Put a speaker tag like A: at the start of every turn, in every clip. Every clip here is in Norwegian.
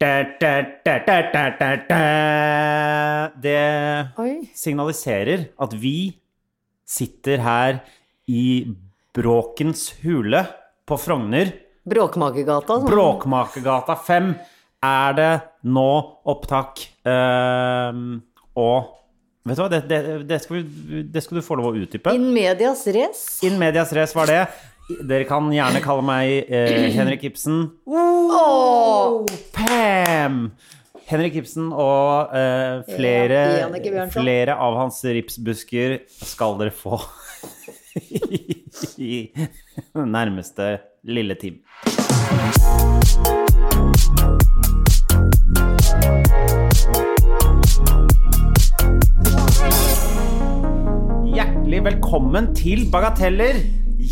A: Da, da, da, da, da, da, da. Det
B: Oi.
A: signaliserer at vi sitter her i Bråkens hule på Frogner.
B: Bråkmakergata. sånn.
A: Bråkmakergata 5 er det nå opptak. Ehm, og vet du hva, det, det, det, skal, vi, det skal du få lov å utdype.
B: In medias res.
A: In medias res var det. Dere kan gjerne kalle meg eh, Henrik Ibsen.
B: Åh!
A: Pam! Henrik Ibsen og eh, flere,
B: Ja, Jannicke Bjørnson.
A: flere av hans ripsbusker skal dere få i den nærmeste lille time. Hjertelig velkommen til Bagateller,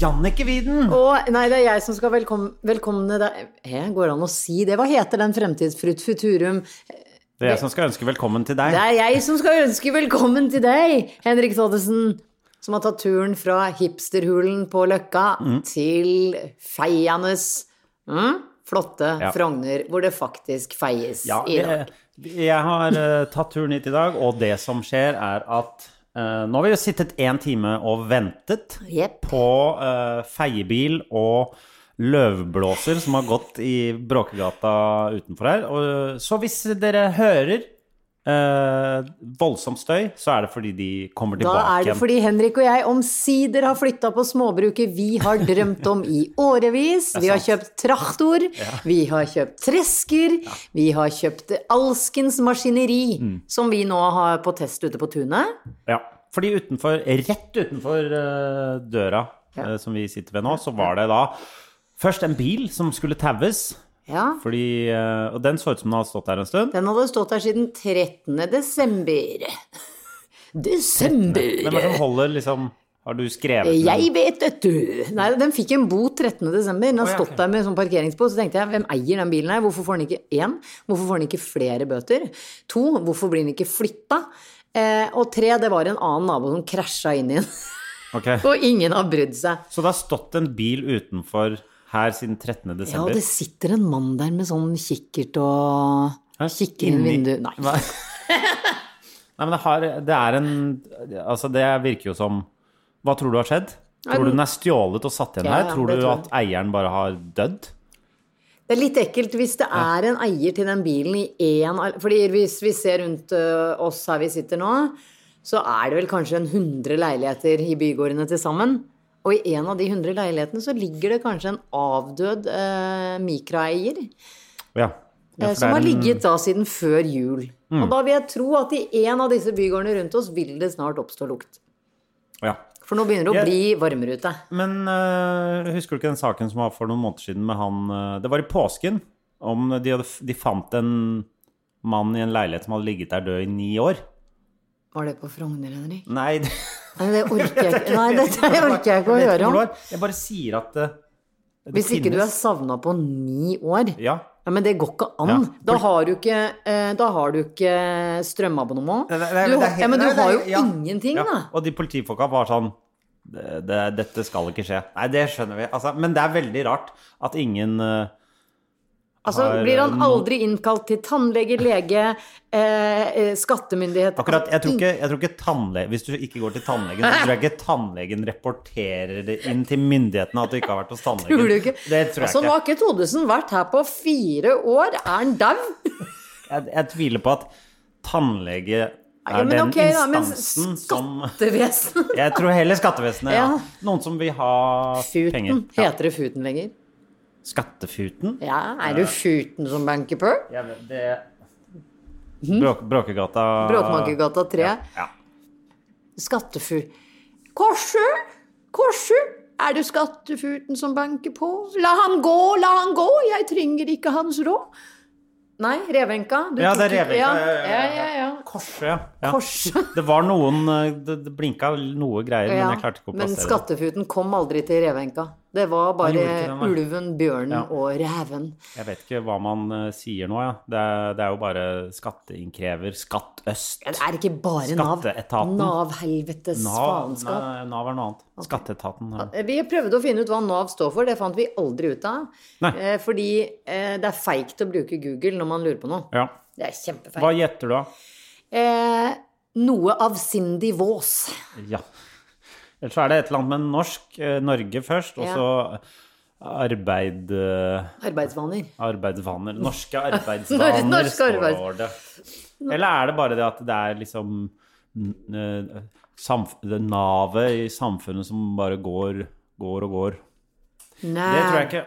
A: Jannicke Widen.
B: Og nei, det er jeg som skal velkom velkomne deg Hæ, går det an å si det? Hva heter den fremtidsfrutt futurum?
A: Det er jeg som skal ønske velkommen til
B: Det
A: deg.
B: er jeg som skal ønske velkommen til deg, Henrik Thodesen. Som har tatt turen fra hipsterhulen på Løkka
A: Mm.
B: til feianes mm, flotte
A: Ja.
B: Frogner, hvor det faktisk feies
A: Ja,
B: i dag.
A: det- jeg har eh, tatt turen hit i dag, og det som skjer er at eh, nå har vi jo sittet en time og ventet
B: Jepp.
A: på eh, feiebil og løvblåser som har gått i Bråkegata utenfor her. Og, eh, så hvis dere hører eh, voldsom støy, så er det fordi de kommer
B: Da
A: tilbake
B: er det
A: igjen.
B: fordi Henrik og jeg omsider har flytta på småbruket vi har drømt om i årevis. Vi har kjøpt traktor, vi har kjøpt tresker, vi har kjøpt alskens maskineri,
A: Mm.
B: som vi nå har på test ute på tunet.
A: Ja, fordi utenfor, rett utenfor eh, døra eh, som vi sitter ved nå, så var det da først en bil som skulle taues.
B: Ja.
A: Fordi, eh, og den så ut som den hadde stått der en stund.
B: Den hadde stått her siden 13. desember.
A: Hvem er det som
B: Desember!
A: holder liksom Har du skrevet den?
B: Eh, Jeg vet, vet du! Nei, den fikk en bot 13. desember. Den har
A: Å, ja,
B: stått
A: ok.
B: der med en sånn parkeringsbot. Så tenkte jeg, hvem eier den bilen her? Hvorfor får den ikke én? Hvorfor får den ikke flere bøter? To, hvorfor blir den ikke flytta? Eh, og tre, det var en annen nabo som krasja inn i den.
A: Ok.
B: Og ingen har brydd seg.
A: Så det har stått en bil utenfor her siden 13.
B: Ja,
A: desember?
B: det sitter en mann der med sånn kikkert og
A: Hæ?
B: Kikker inn i
A: Inni-
B: vinduet. Nei.
A: Hva? Nei, men det, har, det er en Altså, det virker jo som Hva tror du har skjedd? Tror du den er stjålet og satt igjen
B: Ja,
A: her?
B: ja,
A: Tror
B: det
A: du
B: tror jeg.
A: at eieren bare har dødd?
B: Det er litt ekkelt hvis det er en eier til den bilen i én Fordi hvis vi ser rundt ø, oss her vi sitter nå, så er det vel kanskje en 100 leiligheter i bygårdene til sammen. Og i en av de 100 leilighetene så ligger det kanskje en avdød ø, mikraeier.
A: Ja.
B: ø,
A: ja for det
B: Eh,
A: er
B: som har
A: en- Mm.
B: ligget da siden før jul. Og da vil jeg tro at i en av disse bygårdene rundt oss vil det snart oppstå lukt.
A: Ja.
B: For nå begynner det å
A: Jeg-
B: bli varmere ute.
A: Men øh, husker du ikke den saken som var for noen måneder siden med han øh, Det var i påsken. Om de, hadde, f- de fant en mann i en leilighet som hadde ligget der død i ni år.
B: Var det på Frogner, Henrik?
A: Nei, det,
B: Nei, det orker jeg ikke, Nei, dette orker jeg ikke å
A: jeg vet
B: høre
A: hvor
B: om.
A: det var. Jeg bare sier at eh, det, det
B: Hvis ikke du er
A: finnes.
B: savna på ni år
A: Ja.
B: ja, Men det går ikke an.
A: Ja.
B: Da, har du ikke, eh, da har du ikke strømabonnement.
A: Nei, nei, nei,
B: Du
A: det er
B: har-
A: helt-
B: ja, men du
A: nei, det er
B: har jo
A: helt- ja.
B: ingenting,
A: ja.
B: da.
A: Og de politifolka var sånn det, det, Dette skal ikke skje. Nei, det skjønner vi. Altså, men det er veldig rart at ingen øh,
B: Altså,
A: Har, eh,
B: blir han
A: no-
B: aldri innkalt til tannlege, lege, eh, eh, skattemyndighet
A: Akkurat, jeg
B: Mm.
A: tror ikke, jeg tror ikke tannle Hvis du ikke går til tannlegen, så tror jeg ikke tannlegen rapporterer det inn til myndighetene at du ikke har vært hos tannlegen.
B: Tror du ikke?
A: Det tror jeg
B: altså, Nå
A: ikke.
B: har ikke Todesen vært her på fire år. Er han dau?
A: Jeg, jeg tviler på at tannlege er
B: Ja, men
A: den
B: ok da, men
A: instansen som
B: Skattevesen.
A: Jeg tror heller skattevesenet, ja.
B: Ja.
A: Noen som vil ha penger.
B: Futen.
A: Ja.
B: Heter det Futen lenger?
A: Skattefuten?
B: Ja, er du Futen som banker på?
A: Jeg vet det
B: Mhm.
A: Bråk, Bråkegata
B: Bråkmakergata 3.
A: Ja.
B: Skattefu... Korsu! Korsu! Er det skattefuten som banker på? La han gå, la han gå, jeg trenger ikke hans råd. Nei, Revenka. du
A: Ja, det er
B: tok ikke-
A: Revenka.
B: Ja,
A: ja,
B: ja, ja. ja.
A: Korset, ja. ja.
B: Korset.
A: Det var noen eh, Det det blinka noe greier,
B: Ja,
A: men jeg klarte ikke å
B: men
A: plassere det.
B: skattefuten kom aldri til revenka. Det var
A: Han
B: bare
A: gjorde ikke det, nei.
B: ulven, bjørnen
A: Ja.
B: og reven.
A: Jeg vet ikke hva man eh, sier nå, ja. Det er, det er jo bare skatteinnkrever, Skatt Øst.
B: Ja, Det er ikke bare Nav.
A: Skatteetaten.
B: Nav-helvetes
A: Nav,
B: faenskap.
A: nei, Nav er noe annet. Skatteetaten. Ja.
B: Vi prøvde å finne ut hva Nav står for, det fant vi aldri ut av.
A: Nei.
B: Eh, Fordi eh, det er feigt å bruke Google når man lurer på noe.
A: ja.
B: Det er kjempefeigt.
A: Hva gjetter du, da?
B: Eh, noe av Cindy Vås.
A: Ja. Ellers så er det et eller annet med norsk. eh, Norge først, og
B: Ja.
A: så eh, arbeid... eh,
B: Arbeidsvaner.
A: Arbeidsvaner. Norske arbeidsvaner,
B: Norske
A: står det. Eller er det bare det at det er liksom mm, eh, samf det navet i samfunnet som bare går, går og går?
B: Nei.
A: Det tror jeg ikke.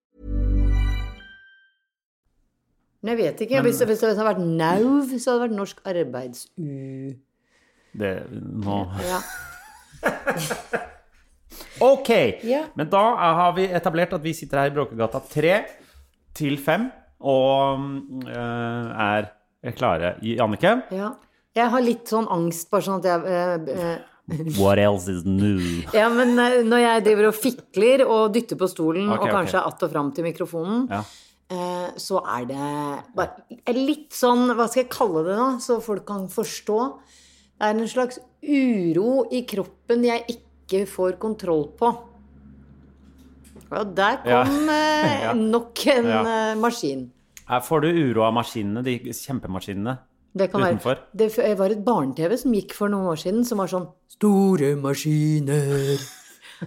B: Men jeg vet ikke. Hvis, det- hvis det hadde vært NAUV, så hadde det vært Norsk arbeids-U...
A: Det, nå.
B: Ja.
A: Ok,
B: Ja.
A: men da er- har vi etablert at vi sitter her i Bråkegata 3 til 5 og mm, eh, er klare. Jannicke,
B: ja. Jeg har litt sånn angst, bare sånn at jeg eh, eh,
A: what else is new?
B: Ja, men eh, når jeg driver og fikler og dytter på stolen
A: Ok,
B: og
A: ok.
B: kanskje att og fram til mikrofonen,
A: Ja.
B: eh, så er det bare litt sånn Hva skal jeg kalle det, da? Så folk kan forstå. Det er en slags uro i kroppen jeg ikke får kontroll på. Og der
A: Ja.
B: kom eh,
A: Ja.
B: nok en
A: Ja.
B: eh, maskin.
A: Her får du uro av maskinene, de kjempemaskinene.
B: Det kan
A: Utenfor.
B: være. Det f- var et barne-TV som gikk for noen år siden, som var sånn Store maskiner.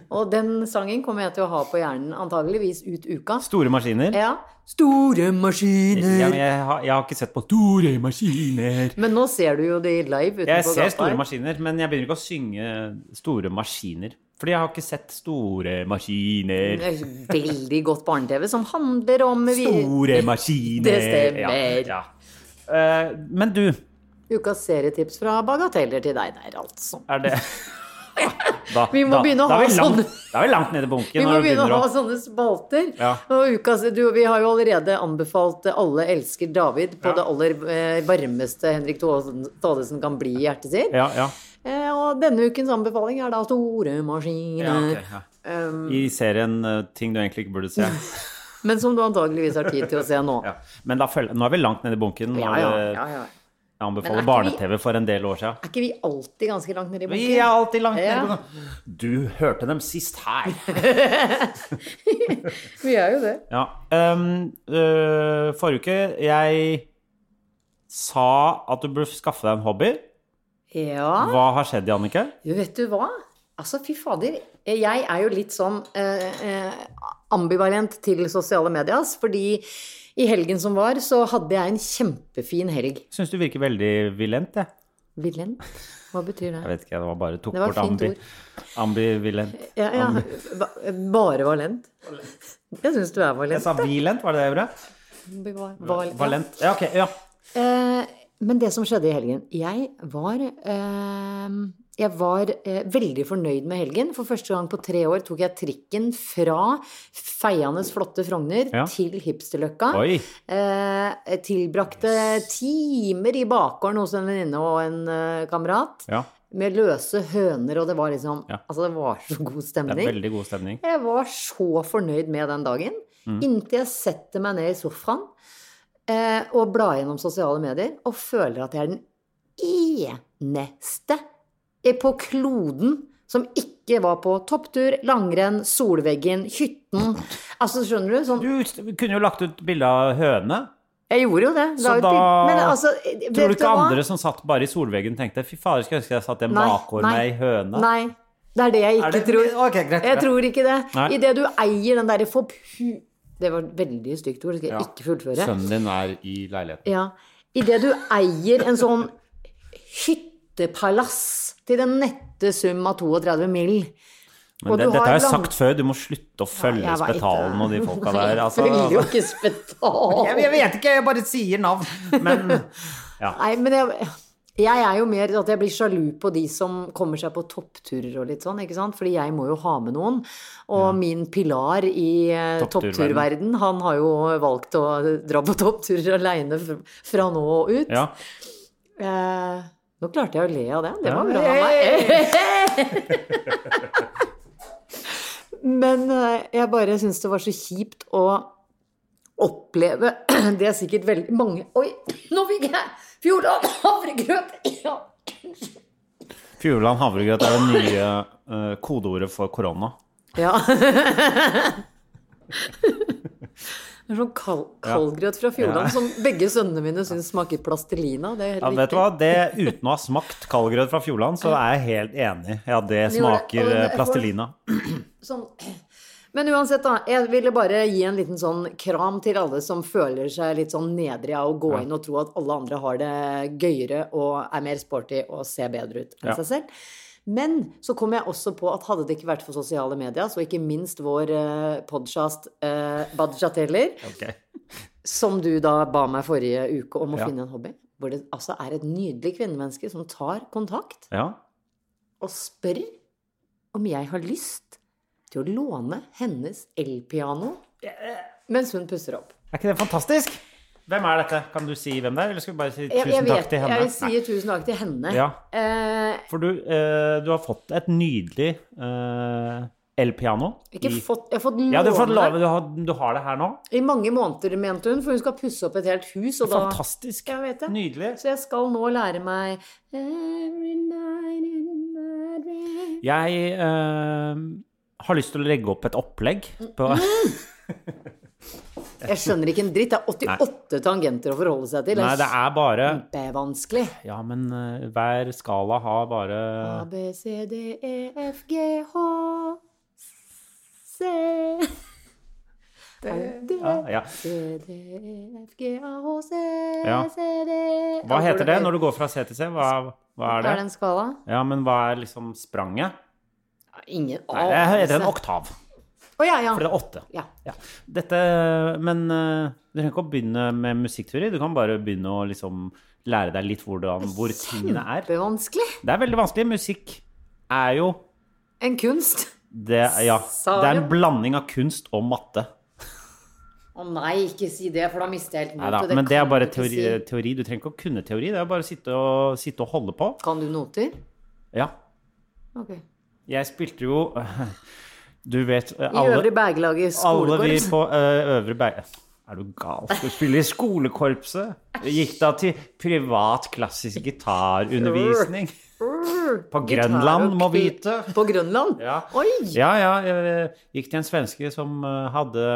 B: Og den sangen kommer jeg til å ha på hjernen antageligvis ut uka.
A: Store maskiner.
B: Ja. Store
A: Ja, men
B: maskiner.
A: jeg, har, jeg har ikke sett på store maskiner.
B: Men nå ser du jo de live
A: Jeg
B: utenfor
A: ser
B: gata.
A: store
B: her.
A: maskiner, men jeg begynner ikke å synge store maskiner. Fordi jeg har ikke sett store maskiner.
B: Det er et Veldig godt barne-TV som handler om vi-
A: Store maskiner.
B: Det stemmer.
A: Ja, ja. Eh, men du,
B: ukas serietips fra bagateller til deg der, altså.
A: er det da,
B: Vi må begynne å
A: da er
B: ha
A: vi langt,
B: sånne-
A: Da er vi langt nede i bunken.
B: Vi må
A: når du
B: begynne å
A: begynner
B: ha sånne spalter.
A: Ja.
B: Og ukas, du, vi har jo allerede anbefalt Alle elsker David på det aller eh, varmeste Henrik Thodesen Thodesen kan bli i hjertet sitt.
A: ja, ja.
B: Eh, og denne ukens anbefaling er da store maskiner.
A: Ja, ok, ja.
B: Um,
A: I serien eh, Ting du egentlig ikke burde se.
B: Men som du antageligvis har tid til å se nå.
A: Ja. Men da følger, nå er vi langt nede i bunken. Nå
B: Ja,
A: er
B: ja,
A: det-
B: ja, ja.
A: Jeg
B: Men er
A: anbefaler
B: ikke
A: barne-TV for en del år siden.
B: Er ikke vi alltid ganske langt nede i
A: Vi er
B: bunken?
A: alltid langt
B: Ja.
A: nede. Du hørte dem sist her.
B: Vi er jo det.
A: Ja. ehm, øh, forrige uke jeg sa at du burde skaffe deg en hobby.
B: Ja.
A: Hva har skjedd, Jannicke?
B: Jo, vet du hva? Altså, fy fader. Jeg er jo litt sånn eh, eh, ambivalent til sosiale medias, fordi i helgen som var, så hadde jeg en kjempefin helg.
A: Syns du virker veldig vilent, jeg.
B: Villen? Hva betyr
A: Jeg
B: det?
A: vet ikke, det var bare tok
B: Det var
A: bort
B: et fint
A: ambi, ambivilent.
B: Ja, ja. ba- Bare valent? Jeg syns du er
A: Jeg
B: valent.
A: sa vilent, var det det jeg gjorde?
B: Val- valent.
A: Valent. Ja, ok. Ja.
B: Eh, men det som skjedde i helgen Jeg var, eh, jeg var eh, veldig fornøyd med helgen. For første gang på tre år tok jeg trikken fra feiende flotte Frogner
A: Ja.
B: til Hipsterløkka.
A: Oi.
B: Eh, tilbrakte timer i bakgården hos en venninne og en eh, kamerat.
A: ja.
B: med løse høner, og det var liksom
A: Ja.
B: Altså, det var så god
A: Det
B: stemning.
A: er veldig god stemning.
B: Jeg var så fornøyd med den dagen.
A: Mm.
B: Inntil jeg setter meg ned i sofaen eh, og blar gjennom sosiale medier og føler at jeg er den eneste i- på kloden som ikke var på topptur, langrenn, Solveggen, hytten. Altså, skjønner du? Sånn,
A: Du kunne jo lagt ut bilde av høne.
B: jeg gjorde jo det. La
A: Så
B: ut
A: da
B: bild- Men altså, vet
A: Tror du ikke
B: hva?
A: andre som satt bare i solveggen, tenkte 'fy fader, skulle ønske jeg satt i en
B: Nei,
A: bakgård med
B: nei,
A: ei høne'?
B: Nei. Det er det jeg ikke
A: Er det-
B: tror.
A: Ok, greit, greit.
B: Jeg tror ikke det.
A: Nei.
B: Idet du eier den derre forpu... Det var et veldig stygt ord, det skal jeg
A: Ja.
B: ikke fullføre.
A: Sønnen din er i leiligheten.
B: Ja. Idet du eier en sånn hyttepalass til den nette sum av 32 mill.
A: Men
B: Og
A: det,
B: du
A: dette
B: har
A: har jeg
B: lang-
A: sagt før, du må slutte å følge
B: Jeg vet
A: Spetalen
B: det.
A: og de folka
B: Nei,
A: der. Altså,
B: Jeg følger jo ikke Spetalen.
A: jeg, jeg vet ikke, jeg bare sier navn. Men
B: Nei, men jeg, jeg er jo mer at jeg blir sjalu på de som kommer seg på toppturer og litt sånn, ikke sant? Fordi jeg må jo ha med noen. Og min pilar i eh,
A: Toppturverden.
B: toppturverden, han har jo valgt å dra på toppturer aleine fra nå og ut.
A: ja.
B: Eh, nå klarte jeg å le av det. Det var
A: Ja.
B: bra av meg. Men eh, jeg bare syns det var så kjipt å oppleve Det er sikkert veldig mange Oi, nå fikk jeg Fjordland havregrøt! Ja.
A: Fjordland havregrøt er det nye eh, kodeordet for korona.
B: ja. Det er sånn kal kaldgrøt fra Fjordland som begge sønnene mine syns smaker plastelina. Det er helt
A: Ja, vet du
B: riktig.
A: hva? Det, uten å ha smakt kaldgrøt fra Fjordland, så er jeg helt enig. Ja, det
B: Men gjorde det-
A: smaker
B: og-
A: eh, plastelina.
B: Sånn. Men uansett, da. Jeg ville bare gi en liten sånn kram til alle som føler seg litt sånn nedrig av å gå inn og tro at alle andre har det gøyere og er mer sporty og ser bedre ut enn
A: Ja.
B: seg selv. Men så kom jeg også på at hadde det ikke vært for sosiale medier, så ikke minst vår eh, podkast eh, Badjateller,
A: Ok.
B: som du da ba meg forrige uke om å
A: Ja.
B: finne en hobby, hvor det altså er et nydelig kvinnemenneske som tar kontakt
A: Ja.
B: og spør om jeg har lyst til å låne hennes elpiano mens hun pusser opp.
A: Er ikke det fantastisk? Hvem er dette? Kan du si hvem det er, eller skal vi bare si
B: Jeg, jeg
A: tusen takk
B: vet-
A: til henne?
B: Jeg sier tusen takk til henne.
A: Ja.
B: Eh,
A: For du, eh, du har fått et nydelig eh, elpiano.
B: ikke
A: i-
B: fått, jeg har fått låne
A: Ja, du har fått lave, du har, du har det her nå.
B: i mange måneder, mente hun, for hun skal pusse opp et helt hus. Og da,
A: Fantastisk.
B: jeg vet det.
A: Nydelig.
B: Så jeg skal nå lære meg Every night in my dream.
A: Jeg eh, har lyst til å legge opp et opplegg på
B: Mm, Jeg skjønner ikke en dritt. Det er 88 tangenter å forholde seg til.
A: Nei, det er bare
B: kjempevanskelig.
A: Ja, men eh, hver skala har bare
B: A, B, C, D, E, F, G, H, C D,
A: ja, ja.
B: C, D, E, F, G, A, H, C,
A: Ja.
B: C, D
A: Hva heter det når du går fra C til C? Hva, hva er det?
B: en skala?
A: Ja, men hva er liksom spranget?
B: Ingen
A: Nei, det heter en oktav,
B: Å ja, ja.
A: for det er åtte.
B: ja.
A: Ja. Dette Men eh, du trenger ikke å begynne med musikkteori. Du kan bare begynne å liksom lære deg litt hvordan, hvor
B: Sånn.
A: tingene er.
B: Kjempevanskelig.
A: Det er veldig vanskelig. Musikk er jo
B: En kunst.
A: det, Ja.
B: Sa
A: Det er en
B: du?
A: blanding av kunst og matte.
B: Å nei, ikke si det, for da mister jeg helt
A: Neida,
B: motet.
A: men det er
B: kan
A: bare
B: du ikke
A: teori,
B: si.
A: teori. Du trenger ikke å kunne teori. Det er bare å sitte og, sitte og holde på.
B: Kan du noter?
A: Ja.
B: Ok.
A: Jeg spilte jo Du vet
B: I
A: alle,
B: Øvre Bergelaget
A: alle vi
B: skolekorps.
A: på eh, Øvre Berg... Er du gal? Du spiller i skolekorpset? Jeg Gikk da til privat klassisk gitarundervisning? På Grønland, må vite.
B: På Grønland?
A: Ja.
B: Oi!
A: Ja, ja. Jeg gikk til en svenske som eh, hadde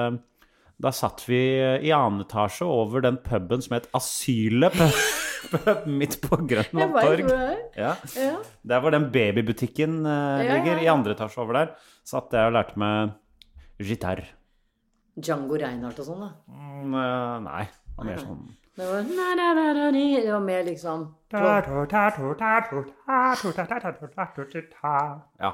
A: Da satt vi eh, i annen etasje over den puben som het Asylet. pub- Pub midt på
B: Jeg
A: Grønland
B: vet
A: torg.
B: hvor det er.
A: Ja.
B: Ja.
A: Der var den babybutikken eh,
B: Ja, ja,
A: ligger. I
B: ja.
A: andre etasje over der satt jeg og lærte meg gitar.
B: Django Reinhardt og sånn, da.
A: Mm, eh, Nei, det var mer sånn
B: Det var, na, na, na, na, ni. det var mer liksom
A: Ja.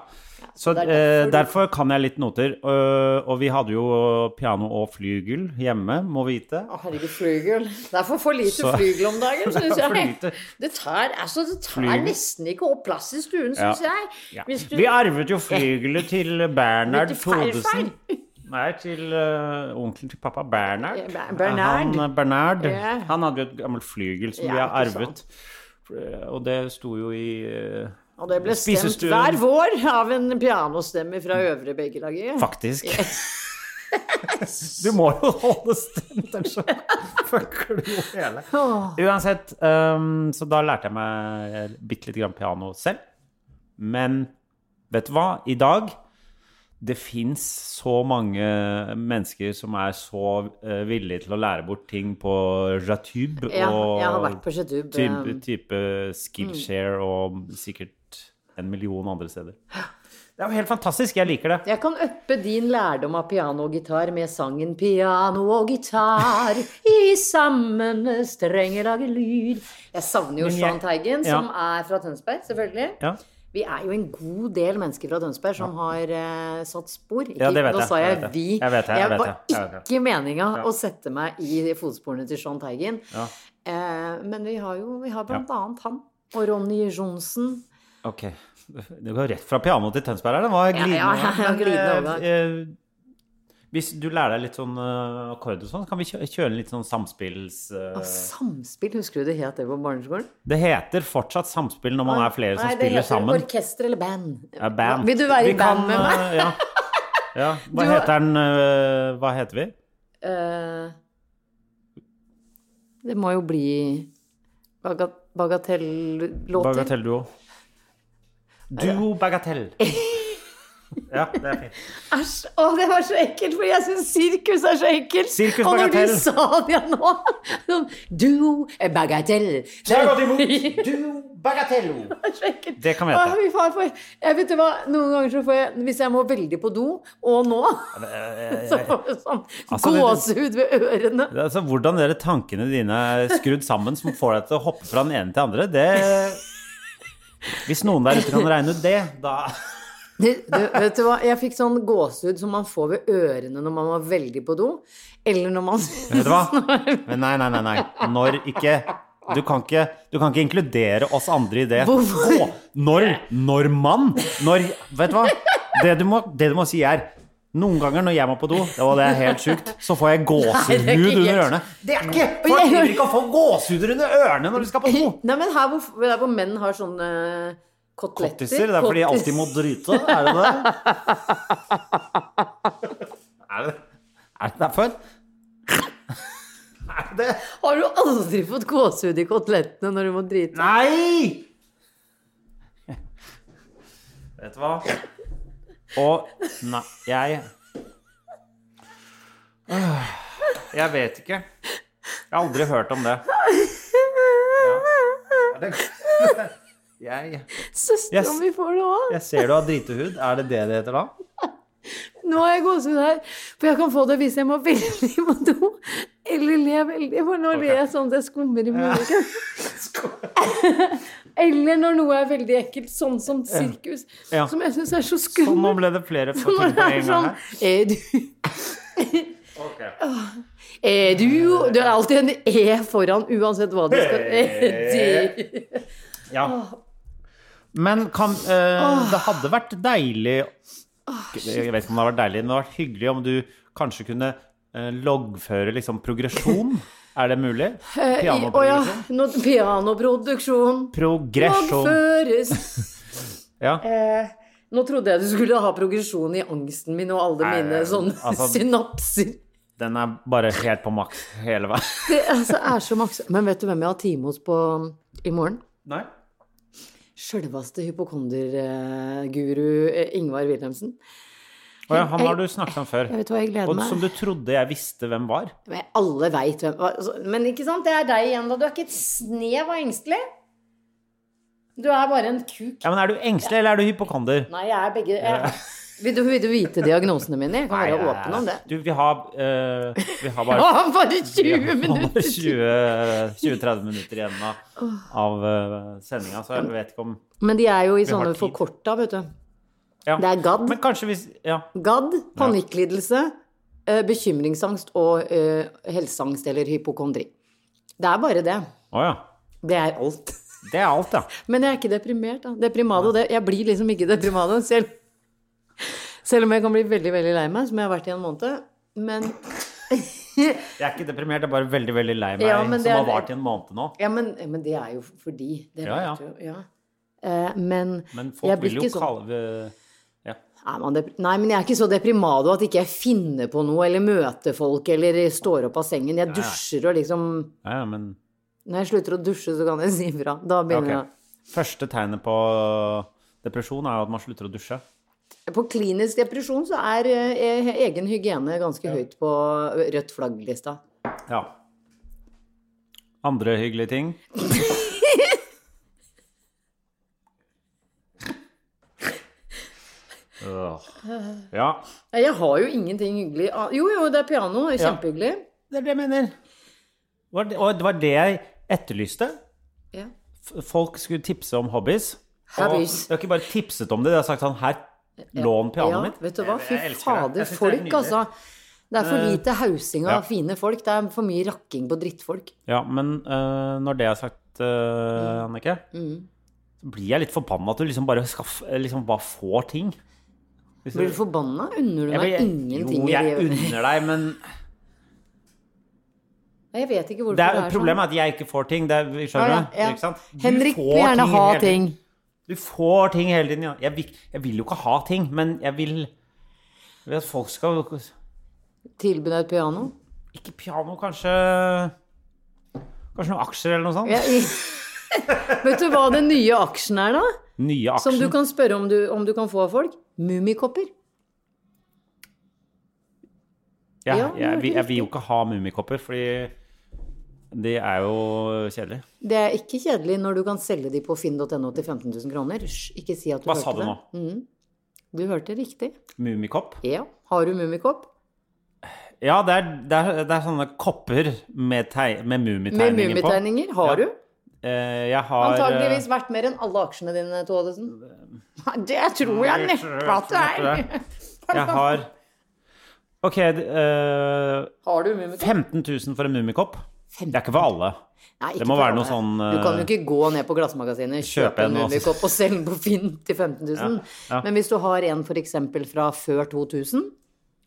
A: Så
B: det
A: eh,
B: er derfor du-
A: derfor kan jeg litt noter. øh, og vi hadde jo piano og flygel hjemme, må vite.
B: Å, herregud, flygel. Det er for, for lite
A: Så-
B: flygel om dagen, syns
A: For
B: jeg.
A: lite.
B: Det tar, altså, det tar
A: Flygel.
B: nesten ikke opp plass i stuen,
A: Ja.
B: syns jeg.
A: Ja.
B: Hvis du,
A: Vi arvet jo flygelet til Bernhard
B: Til farfar.
A: Thodesen. Nei, til øh, onkelen til pappa, Bernhard.
B: Ja, Ber- Bernhard.
A: Han, eh, Bernhard.
B: Ja.
A: Han hadde jo et gammelt flygel som
B: Ja,
A: vi har
B: ikke
A: arvet. Og det sto jo i eh,
B: Og det ble stemt
A: Spisestuen.
B: hver vår av en pianostemme fra øvre Beggelaget.
A: Faktisk. Du må jo holde stemt, ellers så fucker du jo hele. Uansett, ehm, så da lærte jeg meg bitte lite grann piano selv. Men vet du hva? I dag det fins så mange mennesker som er så eh, villige til å lære bort ting på Jatube
B: Ja,
A: og
B: jeg har vært på Mm. Jatube,
A: Type,
B: ehm.
A: type Skillshare og sikkert en million andre steder. Det er jo helt fantastisk. Jeg liker det.
B: Jeg kan øppe din lærdom av piano og gitar med sangen 'Piano og gitar i samme strenger lager lyd'. Jeg savner jo
A: Men jeg-
B: Jahn Teigen,
A: Ja.
B: som er fra Tønsberg, selvfølgelig.
A: Ja.
B: Vi er jo en god del mennesker fra Tønsberg som har eh, satt spor. Ikke,
A: Ja, det vet
B: Nå
A: jeg,
B: sa
A: jeg
B: jeg
A: vet det.
B: 'vi'.
A: Jeg vet det, jeg vet
B: var
A: det, jeg vet det.
B: ikke meninga å sette meg i de fotsporene til Jahn Teigen. Eh, men vi har jo vi har blant annet han. Og Ronny Johnsen.
A: Ok. Det går rett fra piano til Tønsberg her. Det var glidende.
B: ja, ja, ja,
A: men,
B: glidende
A: eh,
B: overgang.
A: eh, Hvis du lærer deg litt sånn eh, akkorder og sånn, så kan vi kjø- kjøre en litt sånn samspills... eh,
B: Samspill, husker du det het det på barneskolen?
A: Det heter fortsatt samspill når man er flere som
B: Nei,
A: spiller
B: Det
A: sammen.
B: heter orkester eller band.
A: Ja, band.
B: Vil du være
A: Vi
B: i band
A: kan,
B: med meg?
A: eh, Ja. ja. Hva
B: Du-
A: heter den eh, Hva heter vi?
B: Eh, det må jo bli baga bagatellåter.
A: Bagatellduo. Duo Bagatell. Ja, det er fint.
B: Æsj! Å, det var så ekkelt, for jeg syns sirkus er så ekkelt.
A: Sirkus
B: og når du
A: bagatell.
B: sa det nå sånn, Duo eh, bagatell. Det
A: Jeg
B: er
A: har gått imot Duo Bagatello.
B: så ekkelt.
A: Det kan vi hete.
B: Å, fy faen, for- Jeg vet du hva, noen ganger så får jeg Hvis jeg må veldig på do, og nå, så får jeg sånn
A: eh, Altså, det-
B: gåsehud ved ørene.
A: Det er Altså, hvordan dere tankene dine er skrudd sammen som får deg til å hoppe fra den ene til den andre, det Hvis noen der ute kan regne ut det, da
B: Du, du, vet du hva, jeg fikk sånn gåsehud som man får ved ørene når man var veldig på do. Eller når man
A: Vet du hva? Men nei, nei, nei. nei. Når ikke du kan, ikke, du kan ikke inkludere oss andre i det.
B: Hvorfor?
A: Å, når når man når, Vet du hva? Det du, må, det du må si, er Noen ganger når jeg må på do, det var det er helt sjukt, så får jeg
B: Nei, det er
A: gåsehud
B: ikke
A: under
B: helt-
A: ørene. Det er ikke
B: Og
A: Folk
B: jeg-
A: driver ikke å få gåsehuder under ørene når du skal på do!
B: Nei, men her hvor, der hvor menn har sånne koteletter
A: Kottiser? Det er fordi de
B: kottis-
A: alltid må drite? Er det det? er, det er det derfor? er det det?
B: Har du aldri fått gåsehud i kotelettene når du må drite?
A: Nei! Vet du hva? Og Nei, jeg Øh, Jeg vet ikke. Jeg har aldri hørt om det. Ja. Er det- Jeg,
B: Søstera
A: Yes.
B: mi får det òg.
A: jeg ser du har dritehud. Er det det det heter da?
B: Nå har jeg gåsehud her. For jeg kan få det hvis jeg må veldig på do. Eller le veldig, for nå ler jeg sånn at jeg skummer i munnen. Eller når noe er veldig ekkelt, sånn som sirkus.
A: Ja. Sånn
B: Som jeg syns er så
A: Så nå
B: skummelt.
A: ble det flere ting
B: Når
A: på
B: det
A: en
B: er
A: gang
B: sånn
A: her.
B: Er du
A: Ok.
B: Er du Det er alltid en E foran, uansett hva du skal Er du
A: Ja. Men kan eh, Det hadde vært deilig Jeg vet ikke om det hadde vært deilig, men det hadde vært hyggelig om du kanskje kunne eh, loggføre liksom progresjon. Er det mulig?
B: Eh, Å ja.
A: Pianoprogresjon.
B: Nå, pianoproduksjon.
A: Progresjon.
B: Loggføres.
A: Ja.
B: Eh, nå trodde jeg du skulle ha progresjon i angsten min og alle
A: Nei,
B: mine sånne
A: altså-
B: synapser.
A: Den er bare helt på maks hele veien.
B: Det altså, er så maks... Men vet du hvem jeg har time hos på um, i morgen?
A: Nei?
B: Sjølveste hypokonderguru Ingvar Wilhelmsen.
A: Å ja, han har du snakket om før.
B: Jeg vet hva, jeg gleder
A: Og
B: meg.
A: som du trodde jeg visste hvem var.
B: Men alle veit hvem altså, Men ikke sant, det er deg igjen, da. Du er ikke et snev av engstelig. Du er bare en kuk.
A: Ja, men Er du engstelig, eller er du hypokonder?
B: Nei, jeg er begge jeg, vil, du, vil du vite diagnosene mine? Jeg kan være åpen om det.
A: Du, vi har, eh, vi har
B: Å,
A: bare
B: bare 20
A: Han har
B: minutter!
A: 20 20-30 minutter igjen av, av eh, sendinga, så jeg vet ikke om
B: Men de er jo i
A: har
B: sånne
A: tid.
B: forkorta, vet du.
A: ja.
B: Det er gadd.
A: Men kanskje hvis Ja.
B: Gadd, panikklidelse, eh, bekymringsangst og eh, helseangst eller hypokondri. Det er bare det.
A: Å ja.
B: Det er alt.
A: Det er alt, ja.
B: Men jeg er ikke deprimert, da. Deprimado, det, jeg blir liksom ikke deprimado selv. Selv om jeg kan bli veldig, veldig lei meg, som jeg har vært i en måned. Men,
A: Jeg er ikke deprimert, jeg er bare veldig veldig lei meg
B: Ja, men det
A: som har
B: er-
A: vart i en måned nå.
B: ja, men, men det er jo fordi det
A: Ja, ja.
B: vet du jo, ja. Eh, men,
A: Men
B: jeg
A: folk
B: blir
A: vil jo
B: ikke sånn-
A: kalle ja.
B: Er man dep- Nei, men jeg er ikke så deprimado at ikke jeg finner på noe, eller møter folk, eller står opp av sengen. Jeg dusjer og liksom
A: ja, ja, men
B: Når jeg slutter å dusje, så kan jeg si fra. Da
A: Ok.
B: begynner
A: Første tegnet på depresjon er jo at man slutter å dusje.
B: jeg. På klinisk depresjon så er eh, egen hygiene ganske høyt på rødt flagg-lista.
A: Ja. Andre hyggelige ting. Øh. Ja.
B: Nei, Jeg har jo ingenting hyggelig an- Jo, jo, det er piano. det er Kjempehyggelig.
A: Det er det jeg mener. Var det, og det var det jeg etterlyste.
B: Ja.
A: F- Folk skulle tipse om hobbies.
B: Hobbies.
A: Og jeg har ikke bare tipset om det, jeg har sagt sånn Her, lån pianoet
B: Ja,
A: mitt.
B: vet du hva? Fy
A: Jeg- jeg elsker det. Jeg
B: fader,
A: synes det er
B: folk,
A: nydelig. Mm.
B: altså. Det er for lite hausing av
A: ja.
B: fine folk. Det er for mye rakking på drittfolk.
A: Ja, men øh, når det er sagt, øh,
B: Mm.
A: Annike, så blir jeg litt forbanna at du liksom bare, skal, f- liksom bare får ting. Hvis
B: Blir du forbanna? Unner
A: Mm.
B: du
A: Jeg
B: meg
A: blir-
B: ingenting?
A: Jo,
B: i
A: jeg
B: livet?
A: unner deg, men
B: Nei, Jeg vet ikke hvorfor
A: det
B: det
A: er,
B: er,
A: problemet er at jeg ikke får ting. Det er,
B: sånn.
A: skjønner
B: Ja,
A: du?
B: ja,
A: Ikke sant?
B: ja.
A: Du
B: Henrik
A: får
B: vil gjerne ha
A: hele tiden.
B: ting.
A: Du får ting hele tiden, ja. Jeg vil, jeg vil jo ikke ha ting, men jeg vil, jeg vil at folk skal
B: Tilby deg et piano.
A: Ikke piano, kanskje Kanskje noen aksjer eller noe sånt?
B: Ja, i... Vet du hva den nye aksjen er, da?
A: Nye
B: Som du
A: aksjer.
B: kan spørre om du, om du kan få av folk? Mummikopper.
A: Ja,
B: Ja,
A: jeg, jeg, vil- jeg vil jo
B: riktig.
A: ikke ha mummikopper, fordi de er jo kjedelige.
B: Det er ikke kjedelig når du kan selge de på finn.no til 15 000 kroner. Hysj, ikke si at du
A: Hva
B: hørte
A: sa du
B: det. Mm.
A: nå?
B: Du hørte riktig.
A: Mummikopp?
B: Ja. Har du mummikopp?
A: Ja, det er, det, er, det er sånne kopper med, teg- med
B: Med
A: mummitegninger på.
B: mummitegninger?
A: Ja.
B: Har du?
A: Eh, jeg har
B: Antakeligvis vært mer enn alle aksjene dine, Thodesen. Det tror jeg neppe at det er.
A: eh, Jeg har Ok, d- eh,
B: Har du mummikopp?
A: 15 000 for en mummikopp. Det er ikke for alle.
B: Nei, ikke
A: det må
B: for
A: være noe
B: alle.
A: sånn,
B: Du kan
A: eh,
B: jo ikke gå ned på Glassmagasinet,
A: kjøpe
B: kjøpe en
A: en og-
B: mummikopp og selge den på Finn til 15 000.
A: Ja, ja.
B: Men hvis du har en f.eks. fra før 2000,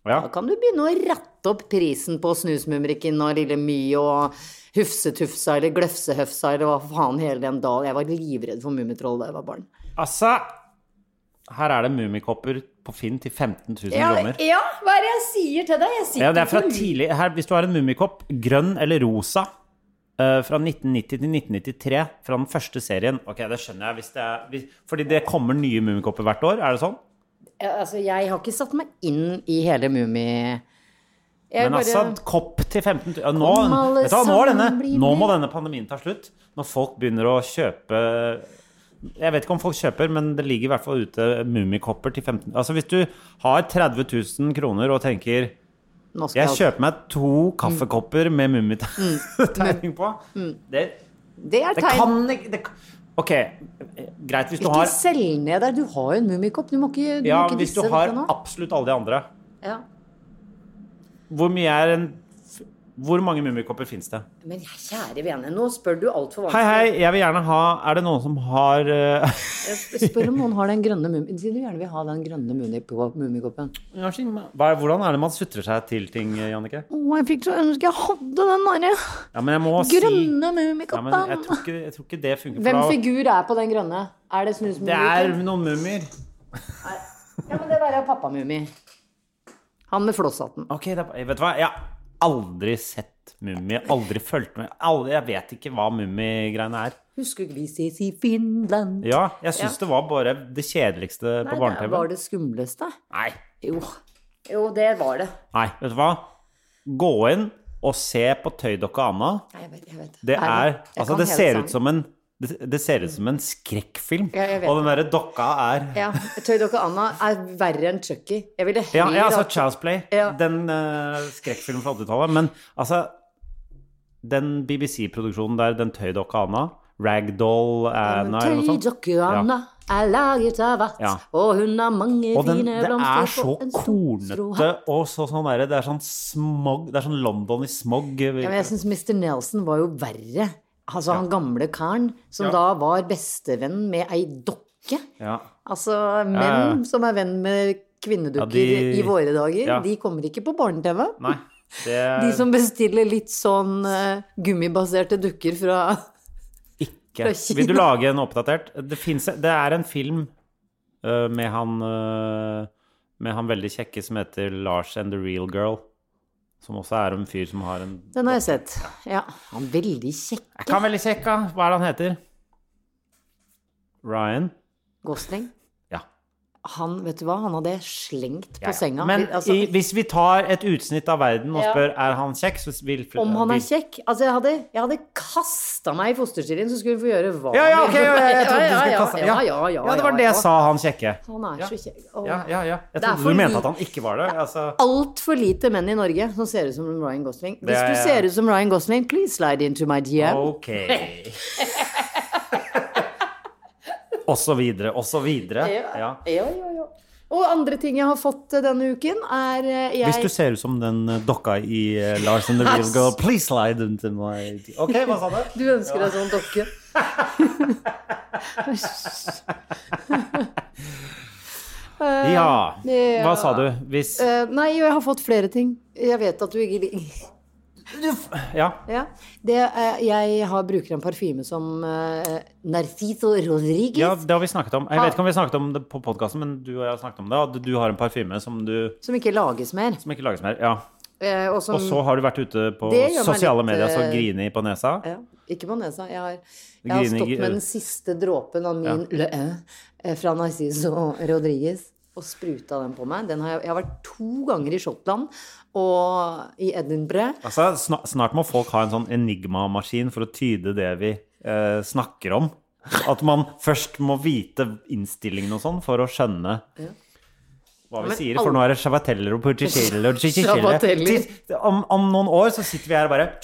A: Ja.
B: da kan du begynne å ratte opp prisen på Snusmumrikken og Lille My og Hufsetufsa eller Gløfsehøfsa eller hva faen hele den dalen. Jeg var livredd for Mummitroll da jeg var barn.
A: Altså Her er det mummikopper på Finn til 15 000 kroner.
B: hva er det jeg sier til deg? Jeg sitter
A: Ja, det er fra
B: ikke-
A: tidlig her, Hvis du har en mummikopp, grønn eller rosa, eh, fra 1990 til 1993, fra den første serien Ok, det skjønner jeg. Hvis det er, hvis, fordi det kommer nye mummikopper hvert år, er det sånn?
B: Ja, Altså, jeg har ikke satt meg inn i hele Mummi... Jeg
A: Men altså, kopp til 15 000 ja, nå,
B: Kom alle
A: vet du hva, nå, er
B: sammen,
A: denne,
B: bli
A: nå må
B: med.
A: denne pandemien ta slutt. Når folk begynner å kjøpe Jeg vet ikke om folk kjøper, men det ligger i hvert fall ute mummikopper til 15 Altså Hvis du har 30 000 kroner og tenker
B: nå skal
A: jeg kjøper meg to
B: Mm.
A: kaffekopper med mummitegning på det,
B: Det er
A: det
B: Mm. tegn.
A: kan ikke det, kan- OK, greit hvis du
B: Ikke
A: har
B: selg ned der, du har jo en mummikopp. Du må ikke, du
A: Ja,
B: må ikke
A: hvis
B: disse
A: du har
B: dette nå.
A: absolutt alle de andre.
B: Ja.
A: Hvor mye er en Hvor mange mummikopper fins det?
B: Men kjære vene, nå spør du altfor
A: Hei,
B: vanskelig.
A: hei, jeg vil gjerne ha Er det noen som har eh,
B: Spør om noen har den grønne mummikoppen. Si du gjerne vil ha den grønne mummi- på mummikoppen.
A: Hva, Hvordan er det man sutrer seg til ting, Jannicke?
B: Å, jeg fikk så ønske jeg hadde den derre
A: Ja, men jeg må si
B: grønne
A: ja, men jeg,
B: mummikoppen.
A: tror ikke, jeg tror ikke det funker.
B: Hvem
A: for da-
B: figur er på den grønne? Er det
A: Det er
B: snusmummikken?
A: noen mummier.
B: Ja, men det der er pappamummi. Han med flosshatten.
A: Ok, det er, jeg vet du hva? Jeg har aldri sett mummi. Aldri fulgt med. Aldri, jeg vet ikke hva mummigreiene er.
B: Husker du ikke vi ses i Finland?
A: Ja, jeg syns det var bare det kjedeligste på
B: Nei, det
A: barne-TV.
B: var det skumleste.
A: Nei.
B: Jo. Jo, det var det.
A: Nei, vet du hva? Gå inn og se på Tøydokka Anna.
B: Nei, Jeg vet, jeg vet.
A: Det
B: Herlig.
A: er
B: Jeg
A: Altså,
B: kan
A: det
B: hele
A: ser
B: sangen.
A: ut som en det, det ser ut som en skrekkfilm.
B: Ja, jeg vet
A: og den derre dokka er
B: Ja, Tøydokka Anna er verre enn Chucky. Jeg ville
A: Ja,
B: heller
A: ja altså
B: hatt-
A: Child's Play.
B: Ja.
A: Den uh, skrekkfilmen fra 80-tallet. Men altså Den BBC-produksjonen der, den tøydokka Anna, Ragdoll Anna eller noe sånt
B: Tøydokka Anna er laget av vatt,
A: sånn. Ja.
B: og hun har mange
A: Og den,
B: fine
A: det er
B: blomster
A: så
B: på en stor strå
A: kornete
B: hatt.
A: og så sånn derre Det er sånn smog Det er sånn London i smog.
B: Ja, men jeg syns Mr. Nelson var jo verre. Altså han gamle karen som da var bestevenn med ei dokke.
A: Ja.
B: Altså menn
A: ja.
B: som er venn med kvinnedukker
A: Ja, de-
B: i våre dager,
A: Ja.
B: de kommer ikke på barne-TV.
A: Nei. Det
B: De
A: er
B: som bestiller litt sånn eh, gummibaserte dukker fra
A: ikke.
B: Fra
A: Vil du
B: Kina.
A: lage en oppdatert? Det, finnes, det er en film øh, med han øh, Med han veldig kjekke som heter Lars and the Real Girl. Som også er en fyr som har en
B: Den har jeg sett. Ja. Han er veldig kjekk.
A: Jeg kan veldig kjekk, da. Hva er det han heter? Ryan?
B: Gosling.
A: Ja.
B: Han, vet du hva, han hadde slengt på
A: Ja, ja.
B: senga.
A: Men
B: Vi- altså,
A: i, hvis vi tar et utsnitt av verden og spør er han kjekk, så vil
B: om han er
A: vil-
B: kjekk Altså, jeg hadde, jeg hadde kasta meg i fosterstillingen, så skulle hun få gjøre hva
A: Ja, ja, ok, ja, ja, jeg trodde du
B: ja,
A: skulle
B: ja,
A: kaste
B: ja, ja, ja,
A: det var det jeg sa, han kjekke.
B: Han er så kjekk. Åh.
A: Ja, ja, ja. Jeg
B: Det er
A: trodde
B: for
A: du mente
B: lite.
A: at han ikke var det. Altså,
B: altfor lite menn i Norge som ser ut som Ryan Gosling. Hvis
A: er-
B: du ser ut som Ryan Gosling, please slide into my DM.
A: ok. Og så videre, og så videre. Ja.
B: Ja, ja, ja. Og andre ting jeg har fått eh, denne uken, er eh, jeg
A: Hvis du ser ut som den eh, dokka i eh, Lars and the Real Girl, please slide into my Ok, hva sa du?
B: Du ønsker deg sånn dokke.
A: Ja.
B: Ja.
A: Hva sa du? Hvis
B: Eh, Nei, jeg har fått flere ting. Jeg vet at du ikke liker
A: Ja.
B: ja. det, eh, Jeg har, bruker en parfyme som eh, Narciso Rodriguez.
A: Ja, det har vi snakket om. Jeg vet ikke om vi snakket om det på podkasten, men du og jeg har snakket om det. At du har en parfyme som du
B: Som ikke lages mer.
A: som ikke lages mer. Ja.
B: Eh, og som,
A: Og så har du vært ute på
B: Det gjør meg
A: sosiale
B: litt,
A: medier så
B: eh,
A: grini på nesa.
B: ja, Ikke på nesa. Jeg har, jeg har
A: Griner-
B: stått med den siste dråpen av min Le Hain, eh, fra Narciso Rodriguez og spruta den på meg. Den har jeg, jeg har vært to ganger i Skottland og i Edinburgh.
A: Altså, sna- snart må folk ha en sånn enigmamaskin for å tyde det vi eh, snakker om. At man først må vite innstillingen og sånn for å skjønne hva vi
B: Men
A: sier. For nå er det shavateller og porticello og
B: Shavateller.
A: chichichelle. Om, om noen år så sitter vi her og bare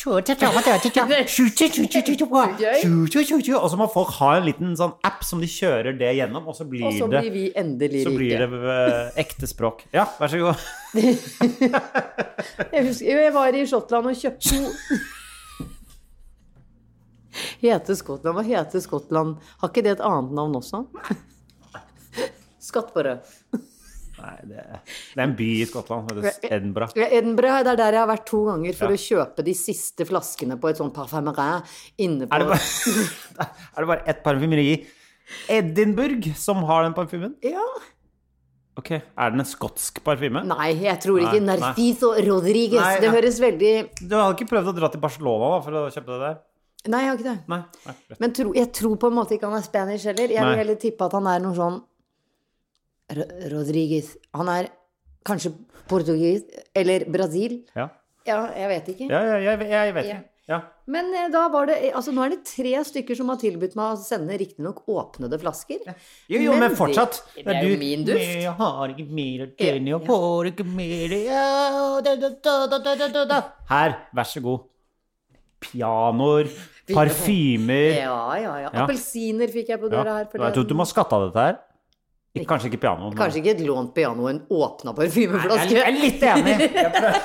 A: Og så må folk ha en liten sånn app som de kjører det gjennom, og så blir
B: Og så
A: det
B: blir vi endelig
A: så blir
B: rike.
A: det eh, ekte språk. Ja, vær så god.
B: Jeg husker jo, jeg var i Skottland og kjøpte to Hete Skottland? Hva heter Skottland? Har ikke det et annet navn også? Skatt på rød.
A: Nei, det, det er en by i Skottland. det heter Edinburgh.
B: Ja, Edinburgh, det er der jeg har vært to ganger for å kjøpe de siste flaskene på et sånt parfymerin inne på
A: Er det bare, er det bare ett parfymeri i Edinburgh som har den parfymen?
B: Ja.
A: Ok, Er den en skotsk parfyme?
B: Nei, jeg tror ikke
A: Nei, nei.
B: Narciso Rodriguez.
A: Nei,
B: Det
A: ja.
B: høres veldig
A: Du hadde ikke prøvd å dra til Barcelona da, for å kjøpe det der?
B: Nei, jeg har ikke det.
A: Nei. nei greit.
B: Men tro, jeg tror på en måte ikke han er spanish heller. Jeg
A: Nei.
B: vil heller tippe at han er noe sånn Ro- Rodriguez Han er kanskje portugis eller Brasil.
A: ja.
B: Ja, jeg vet ikke.
A: Ja, ja, jeg, jeg vet ikke. Ja.
B: Men eh, da var det Altså, nå er det tre stykker som har tilbudt meg å sende riktignok åpnede flasker.
A: Jo, jo, men
B: de-
A: fortsatt.
B: Det er jo min duft.
A: Jeg har ikke mer tenn, jeg får ikke mer ja, da, da, da, da, da, da, da, da. Her, vær så god. Pianoer, parfymer
B: Ja, ja, ja.
A: Ja.
B: Appelsiner fikk jeg på
A: Ja.
B: døra her
A: Jeg tror du må skatte av dette her. Ikke- Kanskje ikke piano. men-
B: Kanskje ikke et lånt piano, en
A: Jeg
B: åpna
A: er
B: parfymeflaske.
A: jeg er litt enig.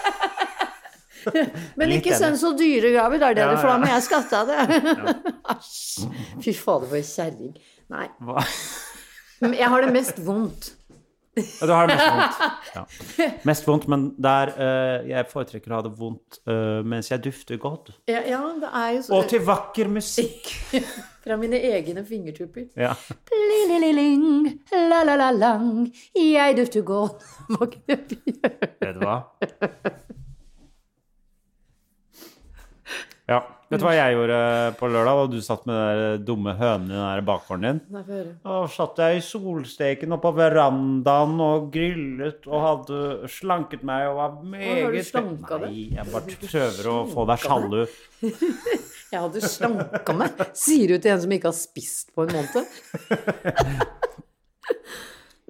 B: Men
A: litt
B: ikke
A: enig.
B: send så dyre gaver, det er det
A: Ja,
B: du får, da
A: ja.
B: må jeg skatte av det. Æsj. Fy fader, for en kjerring. Nei.
A: Hva?
B: Men Jeg har det mest vondt.
A: Ja, Du har det mest vondt. Ja. Mest vondt, men der eh, jeg foretrekker å ha det vondt eh, mens jeg dufter godt.
B: Ja, ja, det er jo så
A: Og til vakker musikk.
B: Fra mine egne fingertupper.
A: Ja.
B: Plilililing, la-la-la-lang, jeg dufter godt. Hva kan jeg gjøre?
A: Vet du hva? Ja. Vet du hva jeg gjorde på lørdag, da du satt med den der dumme hønen i den der bakgården din?
B: Nei, få høre.
A: Da satt jeg i solsteken oppå verandaen og grillet og hadde slanket meg og var meget
B: har du slanka deg?
A: Nei, jeg bare prøver å få deg sjalu.
B: Jeg hadde slanka meg, sier du til en som ikke har spist på en måned.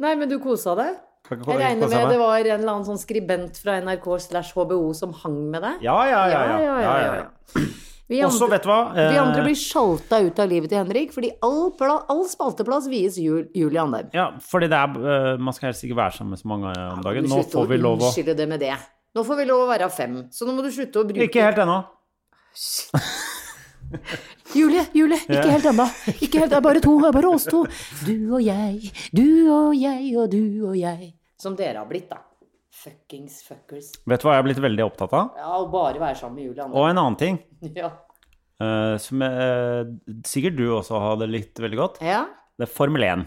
B: Nei, men du kosa deg?
A: Kan ikke få
B: Jeg
A: deg
B: regner
A: kosa
B: med
A: meg.
B: det var en eller annen sånn skribent fra NRK slash HBO som hang med deg?
A: Ja, ja, ja. ja,
B: Ja, ja, ja, Vi
A: Også,
B: andre,
A: vet du hva eh,
B: vi andre blir sjalta ut av livet til Henrik, fordi all, pla, all spalteplass vies Jul, Julie Andheim.
A: Ja, fordi det er eh, Man skal helst ikke være sammen med så mange eh, om dagen.
B: Du
A: Nå
B: slutter
A: får vi lov å
B: unnskylde det med det. Nå får vi lov å være fem, så nå må du slutte å bruke
A: Ikke helt ennå.
B: Julie, Julie, ikke helt ennå. Ikke helt, det er bare to, det er bare oss to. Du og jeg, du og jeg og du og jeg. Som dere har blitt, da. Fuckings fuckers.
A: Vet du hva jeg er blitt veldig opptatt av?
B: Ja, og bare være sammen med Julie Andheim.
A: Og en annen ting.
B: Ja.
A: eh, som eh, sikkert du også hadde litt veldig godt.
B: Ja?
A: Det er Formel 1.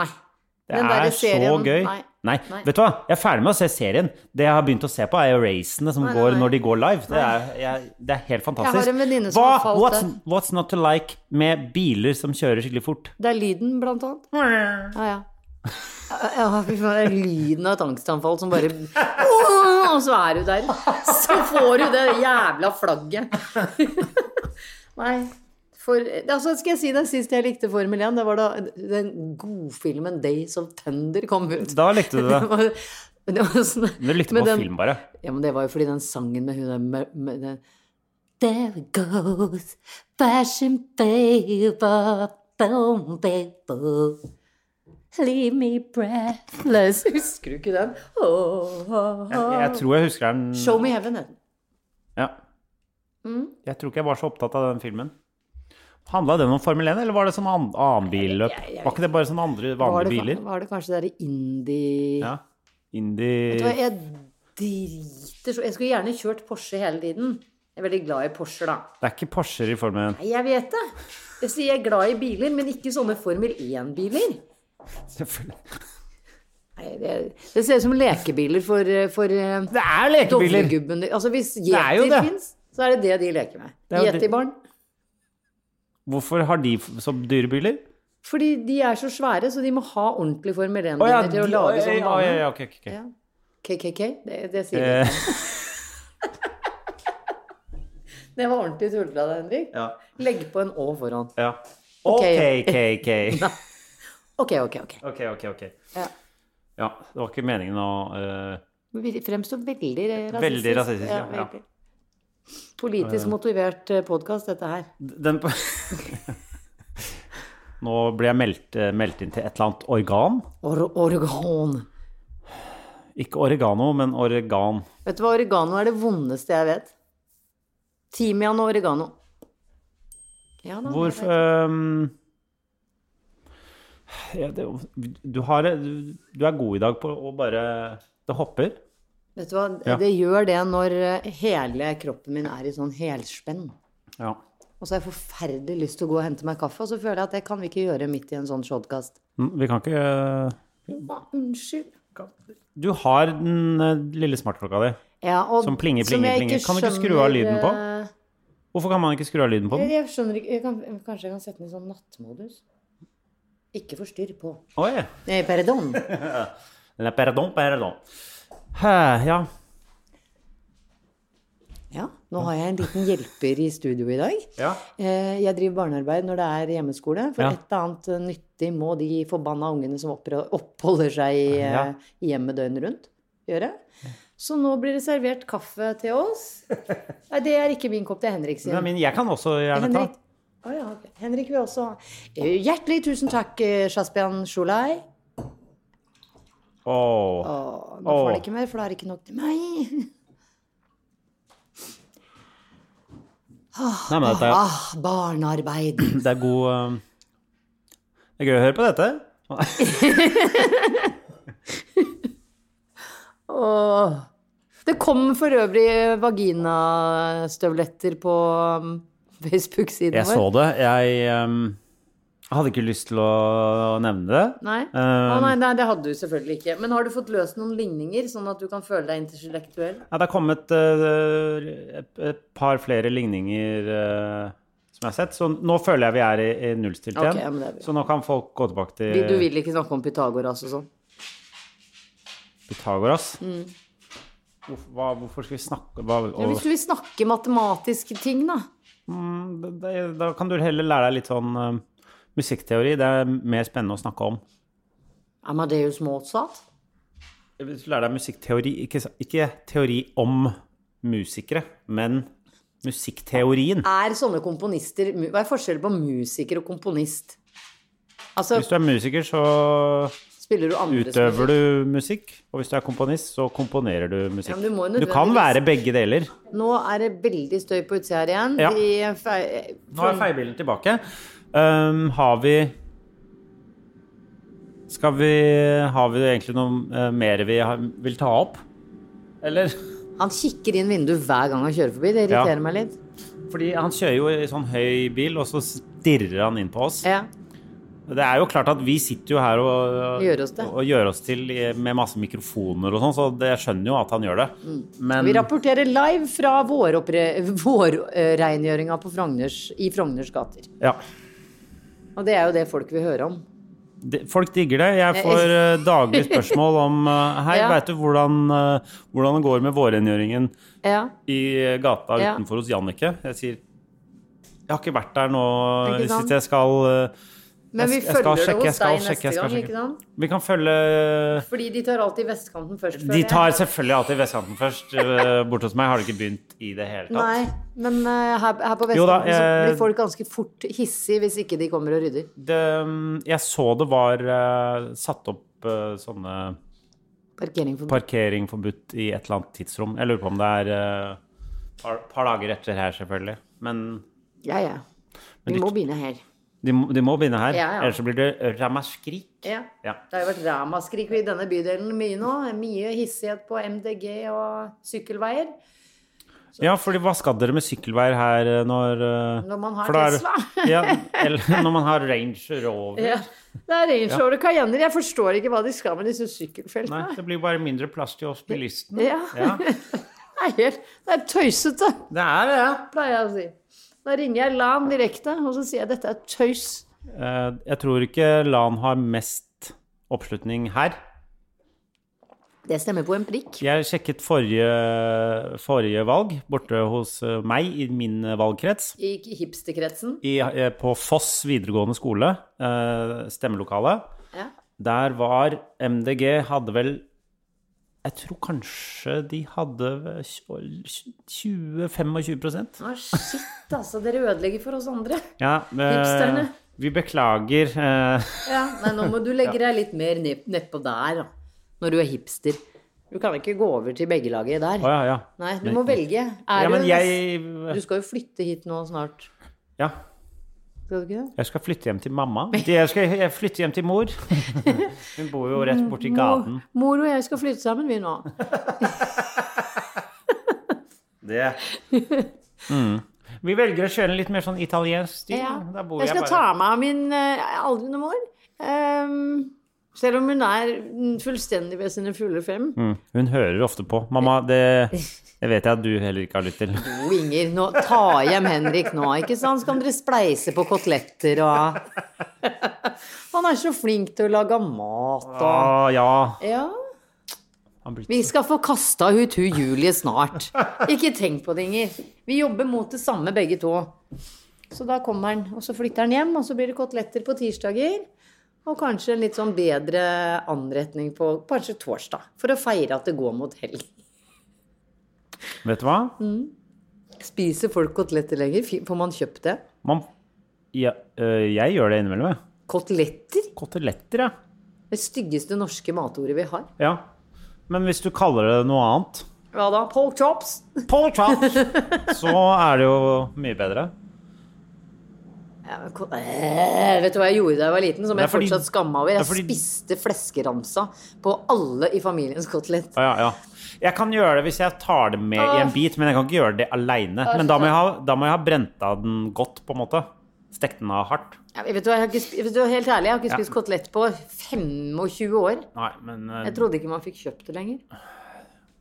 B: Nei.
A: Det
B: Den derre
A: er så
B: serien,
A: gøy.
B: nei.
A: Nei.
B: Nei.
A: vet du hva? Jeg er ferdig med å se serien. Det jeg har begynt å se på, er racene som
B: Nei, nei,
A: går
B: nei.
A: når de går live. Det er, jeg, det er helt fantastisk.
B: Jeg har en venninne som har falt
A: what's,
B: det.
A: what's not to like med biler som kjører skikkelig fort?
B: Det er lyden, blant annet. Ja, ja. Ja, fy faen, det er lyden av et angstanfall som bare Åh, Og så er du der. Så får du det jævla flagget. Nei. For, altså, skal jeg si det sist jeg likte Formel 1, det var da den godfilmen 'Days of Thunder' kom ut.
A: Da likte du det.
B: var, det var sånn,
A: Du lytter
B: med
A: på
B: den-
A: film, bare.
B: ja, men det var jo fordi den sangen med hun der med, med den, There it goes fashion paper boom, baby. Leave me breathless. Husker du ikke den? Åh, åh,
A: Jeg,
B: åh.
A: jeg tror jeg husker den
B: Show Mm. me heaven. het den.
A: Ja. Jeg tror ikke jeg var så opptatt av den filmen. Handla den om Formel 1, eller var det sånn an- annen billøp? Var ikke det bare sånn andre
B: Var
A: vanlige
B: det,
A: biler?
B: var det kanskje det derre indie
A: Ja.
B: Vet du
A: Indie
B: hva, Jeg driter så Jeg skulle gjerne kjørt Porsche hele tiden. Jeg er veldig glad i Porscher, da.
A: Det er ikke Porscher i Formel 1.
B: Nei, Jeg vet det. Jeg sier jeg er glad i biler, men ikke sånne Formel 1-biler.
A: Selvfølgelig.
B: Nei, det, det ser ut som lekebiler for, for eh,
A: Det er lekebiler!
B: Dovregubben Altså, hvis
A: er jo
B: gjeter
A: det.
B: fins, så er det det de leker med.
A: Det er jo det-
B: Gjeterbarn.
A: Hvorfor har de f- så dyre biler?
B: Fordi de er så svære, så de må ha ordentlig Formel
A: Å ja,
B: 1-biler til å
A: de-
B: lage
A: oi, oi,
B: sånn bane.
A: oi, ok, ok, ok.
B: Ja. KKK, det, det sier vi.
A: Eh,
B: Det var ordentlig tullete av deg, Henrik.
A: Ja.
B: Legg på en Å foran.
A: ja.
B: Ok.
A: Ok, ok, ok.
B: Ok, ok, ok.
A: Ok, ok, ok.
B: Ja.
A: Ja, det var ikke meningen å eh,
B: Vi Fremstår veldig rasistisk.
A: Veldig rasistisk, ja, ja.
B: veldig. Politisk motivert podkast, dette her.
A: Den Nå blir jeg meldt, eh, meldt inn til et eller annet organ.
B: Or organ.
A: Ikke oregano, men oregan.
B: Vet du hva, oregano er det vondeste jeg vet. Timian og oregano. Ja, da, jeg
A: Hvorfor
B: vet.
A: øhm, ehm, ja, det, du, har, du, du er god i dag på å bare Det hopper.
B: Vet du hva,
A: Ja.
B: det gjør det når eh, hele kroppen min er i sånn helspenn.
A: Ja.
B: Og så har jeg forferdelig lyst til å gå og hente meg kaffe, og så føler jeg at det kan vi ikke gjøre midt i en sånn shotcast.
A: Mm, Vi kan ikke øh,
B: Å, Ah, unnskyld.
A: Du har den øh, lille smartklokka di.
B: Ja, og,
A: Som plinger,
B: som
A: plinger,
B: jeg
A: plinger. Kan du ikke skru av lyden på? Sånn.
B: eh,
A: Hvorfor kan man ikke skru av lyden på
B: Jeg,
A: den?
B: eh, jeg skjønner ikke jeg kan, Kanskje jeg kan sette den i sånn nattmodus? Ikke forstyrr på.
A: Oi!
B: Nei, pardon.
A: La perdon, perdon. Hæ, ja.
B: Ja, nå har jeg en liten hjelper i studio i dag.
A: ja.
B: Eh, Jeg driver barnearbeid når det er hjemmeskole, for
A: Ja.
B: et eller annet eh, nyttig må de forbanna ungene som oppre- oppholder seg i, eh,
A: Ja.
B: i hjemmet døgnet rundt, gjøre. Så nå blir det servert kaffe til oss. Nei, det er ikke min kopp, det er Henrik sin.
A: Nei, men jeg kan også gjerne ta.
B: Henrik, Å ja, ok. Henrik vil også ha. Eh, Hjertelig tusen takk, eh, Shaspian Sjolai.
A: Åh.
B: Å, Nå får
A: Åh.
B: han ikke mer, for da er det ikke nok til meg.
A: Nei, men dette er,
B: Ah, barnearbeid.
A: det er god øhm, Det er gøy å høre på dette.
B: Åh. Det kom for øvrig vaginastøvletter på um, Facebook-siden
A: Jeg så det. Jeg ehm, hadde ikke lyst til å nevne det.
B: Nei?
A: Eh,
B: Å, nei, nei, det hadde du selvfølgelig ikke. Men har du fått løst noen ligninger, sånn at du kan føle deg intellektuell?
A: ja, det er kommet eh, et, et par flere ligninger eh, som jeg har sett, så nå føler jeg vi er i, i nullstilt
B: Ok,
A: igjen.
B: ja, men det er bra.
A: så nå kan folk gå tilbake til
B: Du vil ikke snakke om Pythagoras og sånn?
A: Pythagoras. Hvorfor, hva, hvorfor skal vi snakke hva,
B: Mm. Ja, hvis du vil snakke matematiske ting, da.
A: Mm, da- da, da kan du heller lære deg litt sånn eh, musikkteori. Det er mer spennende å snakke om.
B: Amadeus Mozart?
A: Hvis du lærer deg musikkteori, ikke, sa- ikke teori om musikere, men musikkteorien.
B: Er sånne komponister mu- Hva er forskjellen på musiker og komponist? Altså,
A: Hvis du er musiker, så
B: spiller du andres
A: utøver du musikk. Og hvis du er komponist, så komponerer du musikk.
B: Ja, men du må jo
A: du kan
B: nødvendigvis-
A: være begge deler.
B: Nå er det veldig støy på utsida her igjen. eh,
A: Ja.
B: De fei-
A: Nå er feilbilen tilbake. Ehm, har vi Skal vi Har vi egentlig noe eh, mer vi har, vil ta opp? Eller?
B: Han kikker inn vinduet hver gang han kjører forbi. Det irriterer
A: Ja.
B: meg litt.
A: Fordi han kjører jo i sånn høy bil, og så stirrer han inn på oss.
B: Ja.
A: Det er jo klart at vi sitter jo her og
B: Gjør oss det.
A: og gjør oss til i- med masse mikrofoner og sånn, så det jeg skjønner jo at han gjør det. Men
B: Mm. Vi rapporterer live fra vårreingjøringa vår eh, Frogners, i Frogners gater.
A: ja.
B: Og det er jo det folk vil høre om.
A: Det- Folk digger det. Jeg får eh, daglig spørsmål om eh, Hei,
B: Ja.
A: vet veit du hvordan, eh, hvordan det går med vårrengjøringen
B: Ja.
A: i gata
B: Ja.
A: utenfor hos Jannicke? Jeg sier Jeg har ikke vært der nå
B: Ikke
A: hvis
B: sant?
A: ikke jeg skal eh,
B: Men vi
A: jeg skal
B: følger det
A: sjekke, jeg
B: hos
A: skal
B: deg
A: sjekke, jeg
B: neste
A: skal
B: gang,
A: sjekke.
B: ikke sant?
A: Vi kan følge
B: Fordi de tar alltid vestkanten først. føler
A: De
B: jeg.
A: tar selvfølgelig alltid vestkanten først. eh, Bort hos meg har det ikke begynt i det hele tatt.
B: Nei, men eh, her, her på
A: Jo da,
B: vestkanten så
A: eh,
B: blir folk ganske fort hissige hvis ikke de kommer og rydder.
A: det, mm, jeg så det var eh, satt opp eh, sånne
B: Parkering for
A: parkering forbudt i et eller annet tidsrom. Jeg lurer på om det er et par, par dager etter her, selvfølgelig. Men
B: Ja, ja. Vi
A: de-
B: må begynne her.
A: de, må- de må begynne her,
B: Ja, ja.
A: ellers så blir det ramaskrik.
B: Ja.
A: Ja.
B: Det har jo vært ramaskrik i denne bydelen mye nå. Mye hissighet på MDG og sykkelveier.
A: ja, fordi hva skal dere med sykkelveier her eh, når eh,
B: Når man har
A: for da er-
B: Tesla.
A: ja, eller når man har Range Rover.
B: Ja. Det er Range Rover og Cayenner. Jeg forstår ikke hva de skal med disse
A: Nei,
B: sykkelfeltene.
A: det blir bare mindre plass til oss bilistene.
B: Ja. Det er helt Det er tøysete,
A: Det er det.
B: pleier jeg å si. Da ringer jeg LAN direkte, og så sier jeg dette er tøys.
A: Eh, Jeg tror ikke LAN har mest oppslutning her.
B: Det stemmer på en prikk.
A: Jeg sjekket forrige, forrige valg borte hos eh, meg i min eh, valgkrets.
B: I hipsterkretsen.
A: I, eh, på Foss videregående skole, eh, stemmelokalet.
B: Ja.
A: Der var MDG hadde vel Jeg tror kanskje de hadde 20-25
B: Å, shit, altså. Dere ødelegger for oss andre.
A: Ja, eh,
B: Hipsterne.
A: Vi beklager. eh,
B: Ja, Nei, nå må du legge deg litt mer ned- nedpå der, da. Når du er hipster. Du kan ikke gå over til begge laget
A: Å
B: der.
A: ja, ja.
B: Nei, du må velge. Er
A: Ja, men
B: du, du
A: jeg
B: skal jo flytte hit nå snart.
A: Ja.
B: Skal du ikke det?
A: Jeg skal flytte hjem til mamma. Jeg skal jeg flytte hjem til mor. Hun bor jo rett borti gaten.
B: Mor og jeg skal flytte sammen, vi nå.
A: Det. Vi velger å kjøre en litt mer sånn italiensk stil.
B: Ja.
A: Da bor
B: Jeg
A: jeg,
B: skal ta
A: bare
B: meg av min eh, aldrende mor. Ehm, selv om hun er mm, fullstendig ved sine fulle fem.
A: mm. Hun hører ofte på. Mamma, det, det vet jeg at du heller ikke har lyst til.
B: Jo, Inger, nå, ta hjem Henrik nå, ikke sant? Så kan dere spleise på koteletter og Han er så flink til å lage mat
A: Å
B: og
A: Ah, ja.
B: Ja.
A: Han blir
B: Vi skal få kasta ut hun Julie snart. Ikke tenk på det, Inger. Vi jobber mot det samme begge to. Så da kommer han, og så flytter han hjem, og så blir det koteletter på tirsdager. Og kanskje en litt sånn bedre anretning på kanskje torsdag, for å feire at det går mot helg.
A: Vet du hva?
B: Spiser folk koteletter lenger? Fy- Får man kjøpt det?
A: Man, ja, øh, jeg gjør det innimellom, jeg.
B: Koteletter?
A: Koteletter, ja.
B: Det styggeste norske matordet vi har.
A: ja. Men hvis du kaller det noe annet
B: Hva da? Polk chops?
A: Paul Charles! Så er det jo mye bedre.
B: Ja, men ko- Eh, vet du hva jeg gjorde da jeg var liten, som
A: Det er
B: jeg
A: fordi-
B: fortsatt skamma over? Jeg
A: det er fordi-
B: spiste fleskeramsa på alle i familiens
A: Å,
B: kotelett.
A: ja, ja. Jeg kan gjøre det hvis jeg tar det med i en bit, men jeg kan ikke gjøre det aleine. Men da må, jeg ha, da må jeg ha brent av den godt, på en måte. Stekt den av hardt.
B: Ja, vet du hva, jeg har ikke, sp- vet du, hva, helt ærlig, jeg har ikke
A: Ja.
B: spist kotelett på 25 år.
A: Nei, men eh,
B: Jeg trodde ikke man fikk kjøpt det lenger.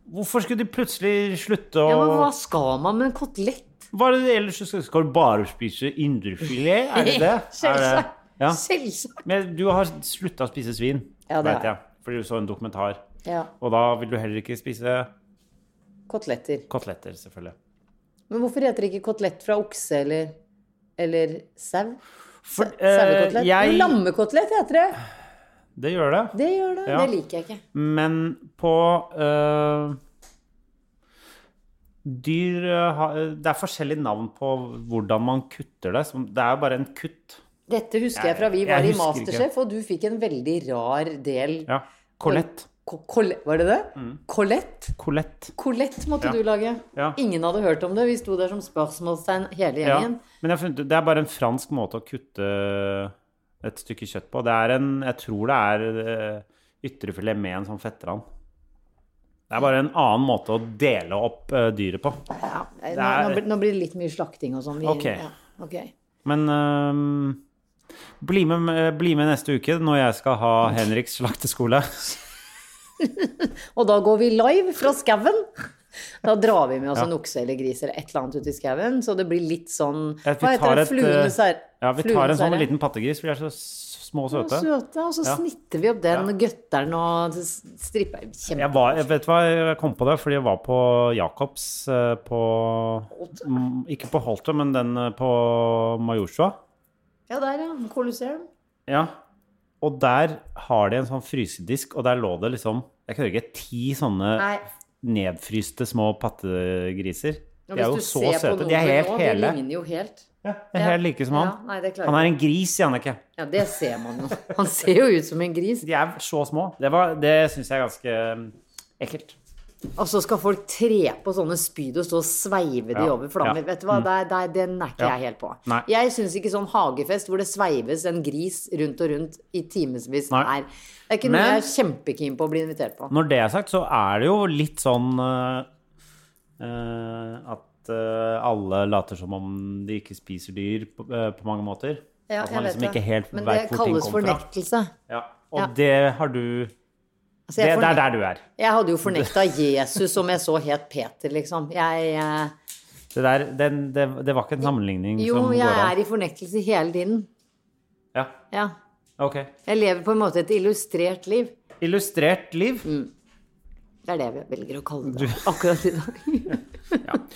A: Hvorfor skulle de plutselig slutte å
B: Ja, men hva skal man med en kotelett?
A: Hva er det ellers du skal Skal du bare spise indrefilet? Er det det? Er det...
B: Selvsagt.
A: Ja.
B: Selvsagt.
A: Men du har slutta å spise svin,
B: Ja, det
A: vet
B: har jeg.
A: jeg. Fordi du så en dokumentar.
B: Ja,
A: Og da vil du heller ikke spise
B: koteletter.
A: koteletter, selvfølgelig.
B: Men hvorfor heter det ikke kotelett fra okse eller, eller sau?
A: For,
B: Sauekotelett?
A: eh, jeg
B: Lammekotelett heter det.
A: Det gjør det.
B: Det gjør det.
A: Ja.
B: Det liker jeg ikke.
A: Men på eh, Dyr eh, ha- Det er forskjellige navn på hvordan man kutter det. Som, det er jo bare en kutt.
B: Dette husker jeg fra vi
A: Jeg-
B: var
A: jeg
B: i
A: husker ikke.
B: Masterchef, og du fikk en veldig rar del.
A: Ja. Colette.
B: Ko- kole- Var det det? Colette?
A: Colette.
B: Colette måtte
A: Mm. Ja.
B: du lage.
A: Ja.
B: Ingen hadde hørt om det. Vi sto der som spørsmålstegn hele
A: Ja,
B: gjengen.
A: men jeg har funnet, ut- det er bare en fransk måte å kutte et stykke kjøtt på. Det er en, jeg tror det er eh, ytrefilet med en sånn fettrand. Det er bare en annen måte å dele opp eh, dyret på.
B: Ja, nå,
A: Det
B: nå,
A: er-
B: blir- nå blir det litt mye slakting og sånn. Vi-
A: Ok.
B: Ja, ok.
A: Men øhm, bli, med, eh, bli med neste uke når jeg skal ha Henriks slakteskole.
B: Og da går vi live fra skauen. Da drar vi med oss en okse eller gris eller et eller annet ut i skauen, så det blir litt sånn
A: Ja,
B: Hva
A: vi tar
B: heter det?
A: et, eh,
B: Fluenes her-
A: Ja, vi tar en
B: fluenes
A: sånn
B: herre?
A: liten pattegris, for de er så s- små og
B: Ja,
A: søte.
B: søte. Og så
A: Ja.
B: snitter vi opp den og gøtteren og s- stripper Kjempe.
A: Jeg, var, jeg vet hva jeg kom på det, fordi jeg var på Jacobs eh, på Mm, Ikke på Holte, men den eh, på Majorstua.
B: Ja, der, ja. Colosseum.
A: Ja. Og der har de en sånn frysedisk, og der lå det liksom jeg kan ikke ti sånne
B: Nei.
A: nedfryste små pattegriser.
B: Og
A: De er jo
B: hvis du
A: så
B: ser på
A: søte. De er
B: noen
A: helt
B: nå,
A: hele.
B: De ligner jo helt.
A: Ja, jeg er helt like som han.
B: Ja, nei, det klarer
A: han er en gris, Jannicke.
B: Ja, det ser man jo. Han ser jo ut som en gris.
A: De er så små. Det, var- det syns jeg er ganske um, ekkelt.
B: Og så skal folk tre på sånne spyd og stå og sveive de
A: Ja,
B: over flammer.
A: ja. Mm.
B: Vet du hva, der, der, den er ikke
A: Ja.
B: jeg helt på.
A: Nei.
B: Jeg syns ikke sånn hagefest hvor det sveives en gris rundt og rundt i timevis
A: Nei.
B: er Det er ikke noe
A: Men-
B: jeg er kjempekeen på å bli invitert på.
A: Når det er sagt, så er det jo litt sånn eh, eh, at eh, alle later som om de ikke spiser dyr på, eh, på mange måter.
B: Ja,
A: at man
B: jeg vet
A: liksom ikke helt
B: Men det
A: vet hvor ting
B: kalles
A: kommer fra.
B: fornektelse.
A: Ja, og
B: Ja.
A: det har du
B: Altså,
A: det,
B: jeg,
A: det
B: fornek-
A: er der du er.
B: jeg hadde jo fornekta Jesus som jeg så het Peter, liksom. Jeg, eh,
A: Det, der, den, det, det var ikke en sammenligning
B: jo,
A: som
B: jeg
A: går
B: er
A: an.
B: i fornektelse hele tiden.
A: Ja,
B: Ja.
A: ok.
B: Jeg lever på en måte et illustrert liv.
A: Illustrert liv.
B: Mm. Det er det vi velger å kalle det akkurat i dag.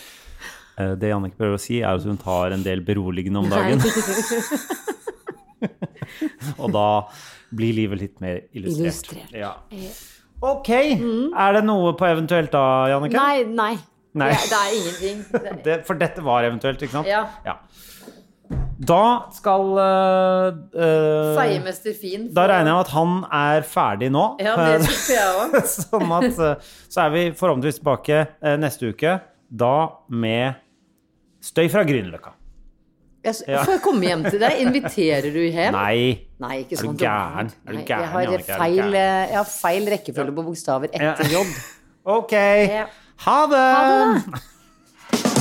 A: Eh, Det Jannicke prøver å si, er at hun tar en del beroligende om dagen. Og da blir livet litt mer illustrert.
B: Illustrert. Eh. Mm.
A: Ja. Ok. Er det noe på eventuelt da, Jannicke?
B: Nei, nei.
A: Nei.
B: Det, det er ingenting. Det,
A: Det, for dette var eventuelt, ikke sant?
B: Ja.
A: Da skal øh, øh,
B: Feiemester Fin.
A: Da regner jeg med at han er ferdig nå.
B: Ja, det syns jeg òg.
A: sånn at øh, Så er vi forhåpentligvis tilbake øh, neste uke, da med støy fra Grünerløkka.
B: Jeg s- Får jeg komme hjem til deg? Inviterer du hjem?
A: Nei.
B: Nei, ikke
A: Er du
B: sånn.
A: gæren? Er du
B: Nei,
A: gæren,
B: Jeg har
A: Jannicke? Er du
B: feil,
A: gæren?
B: eh, jeg har feil rekkefølge på bokstaver
A: Ja.
B: etter jobb.
A: OK. Ha det!
B: Ha det, da.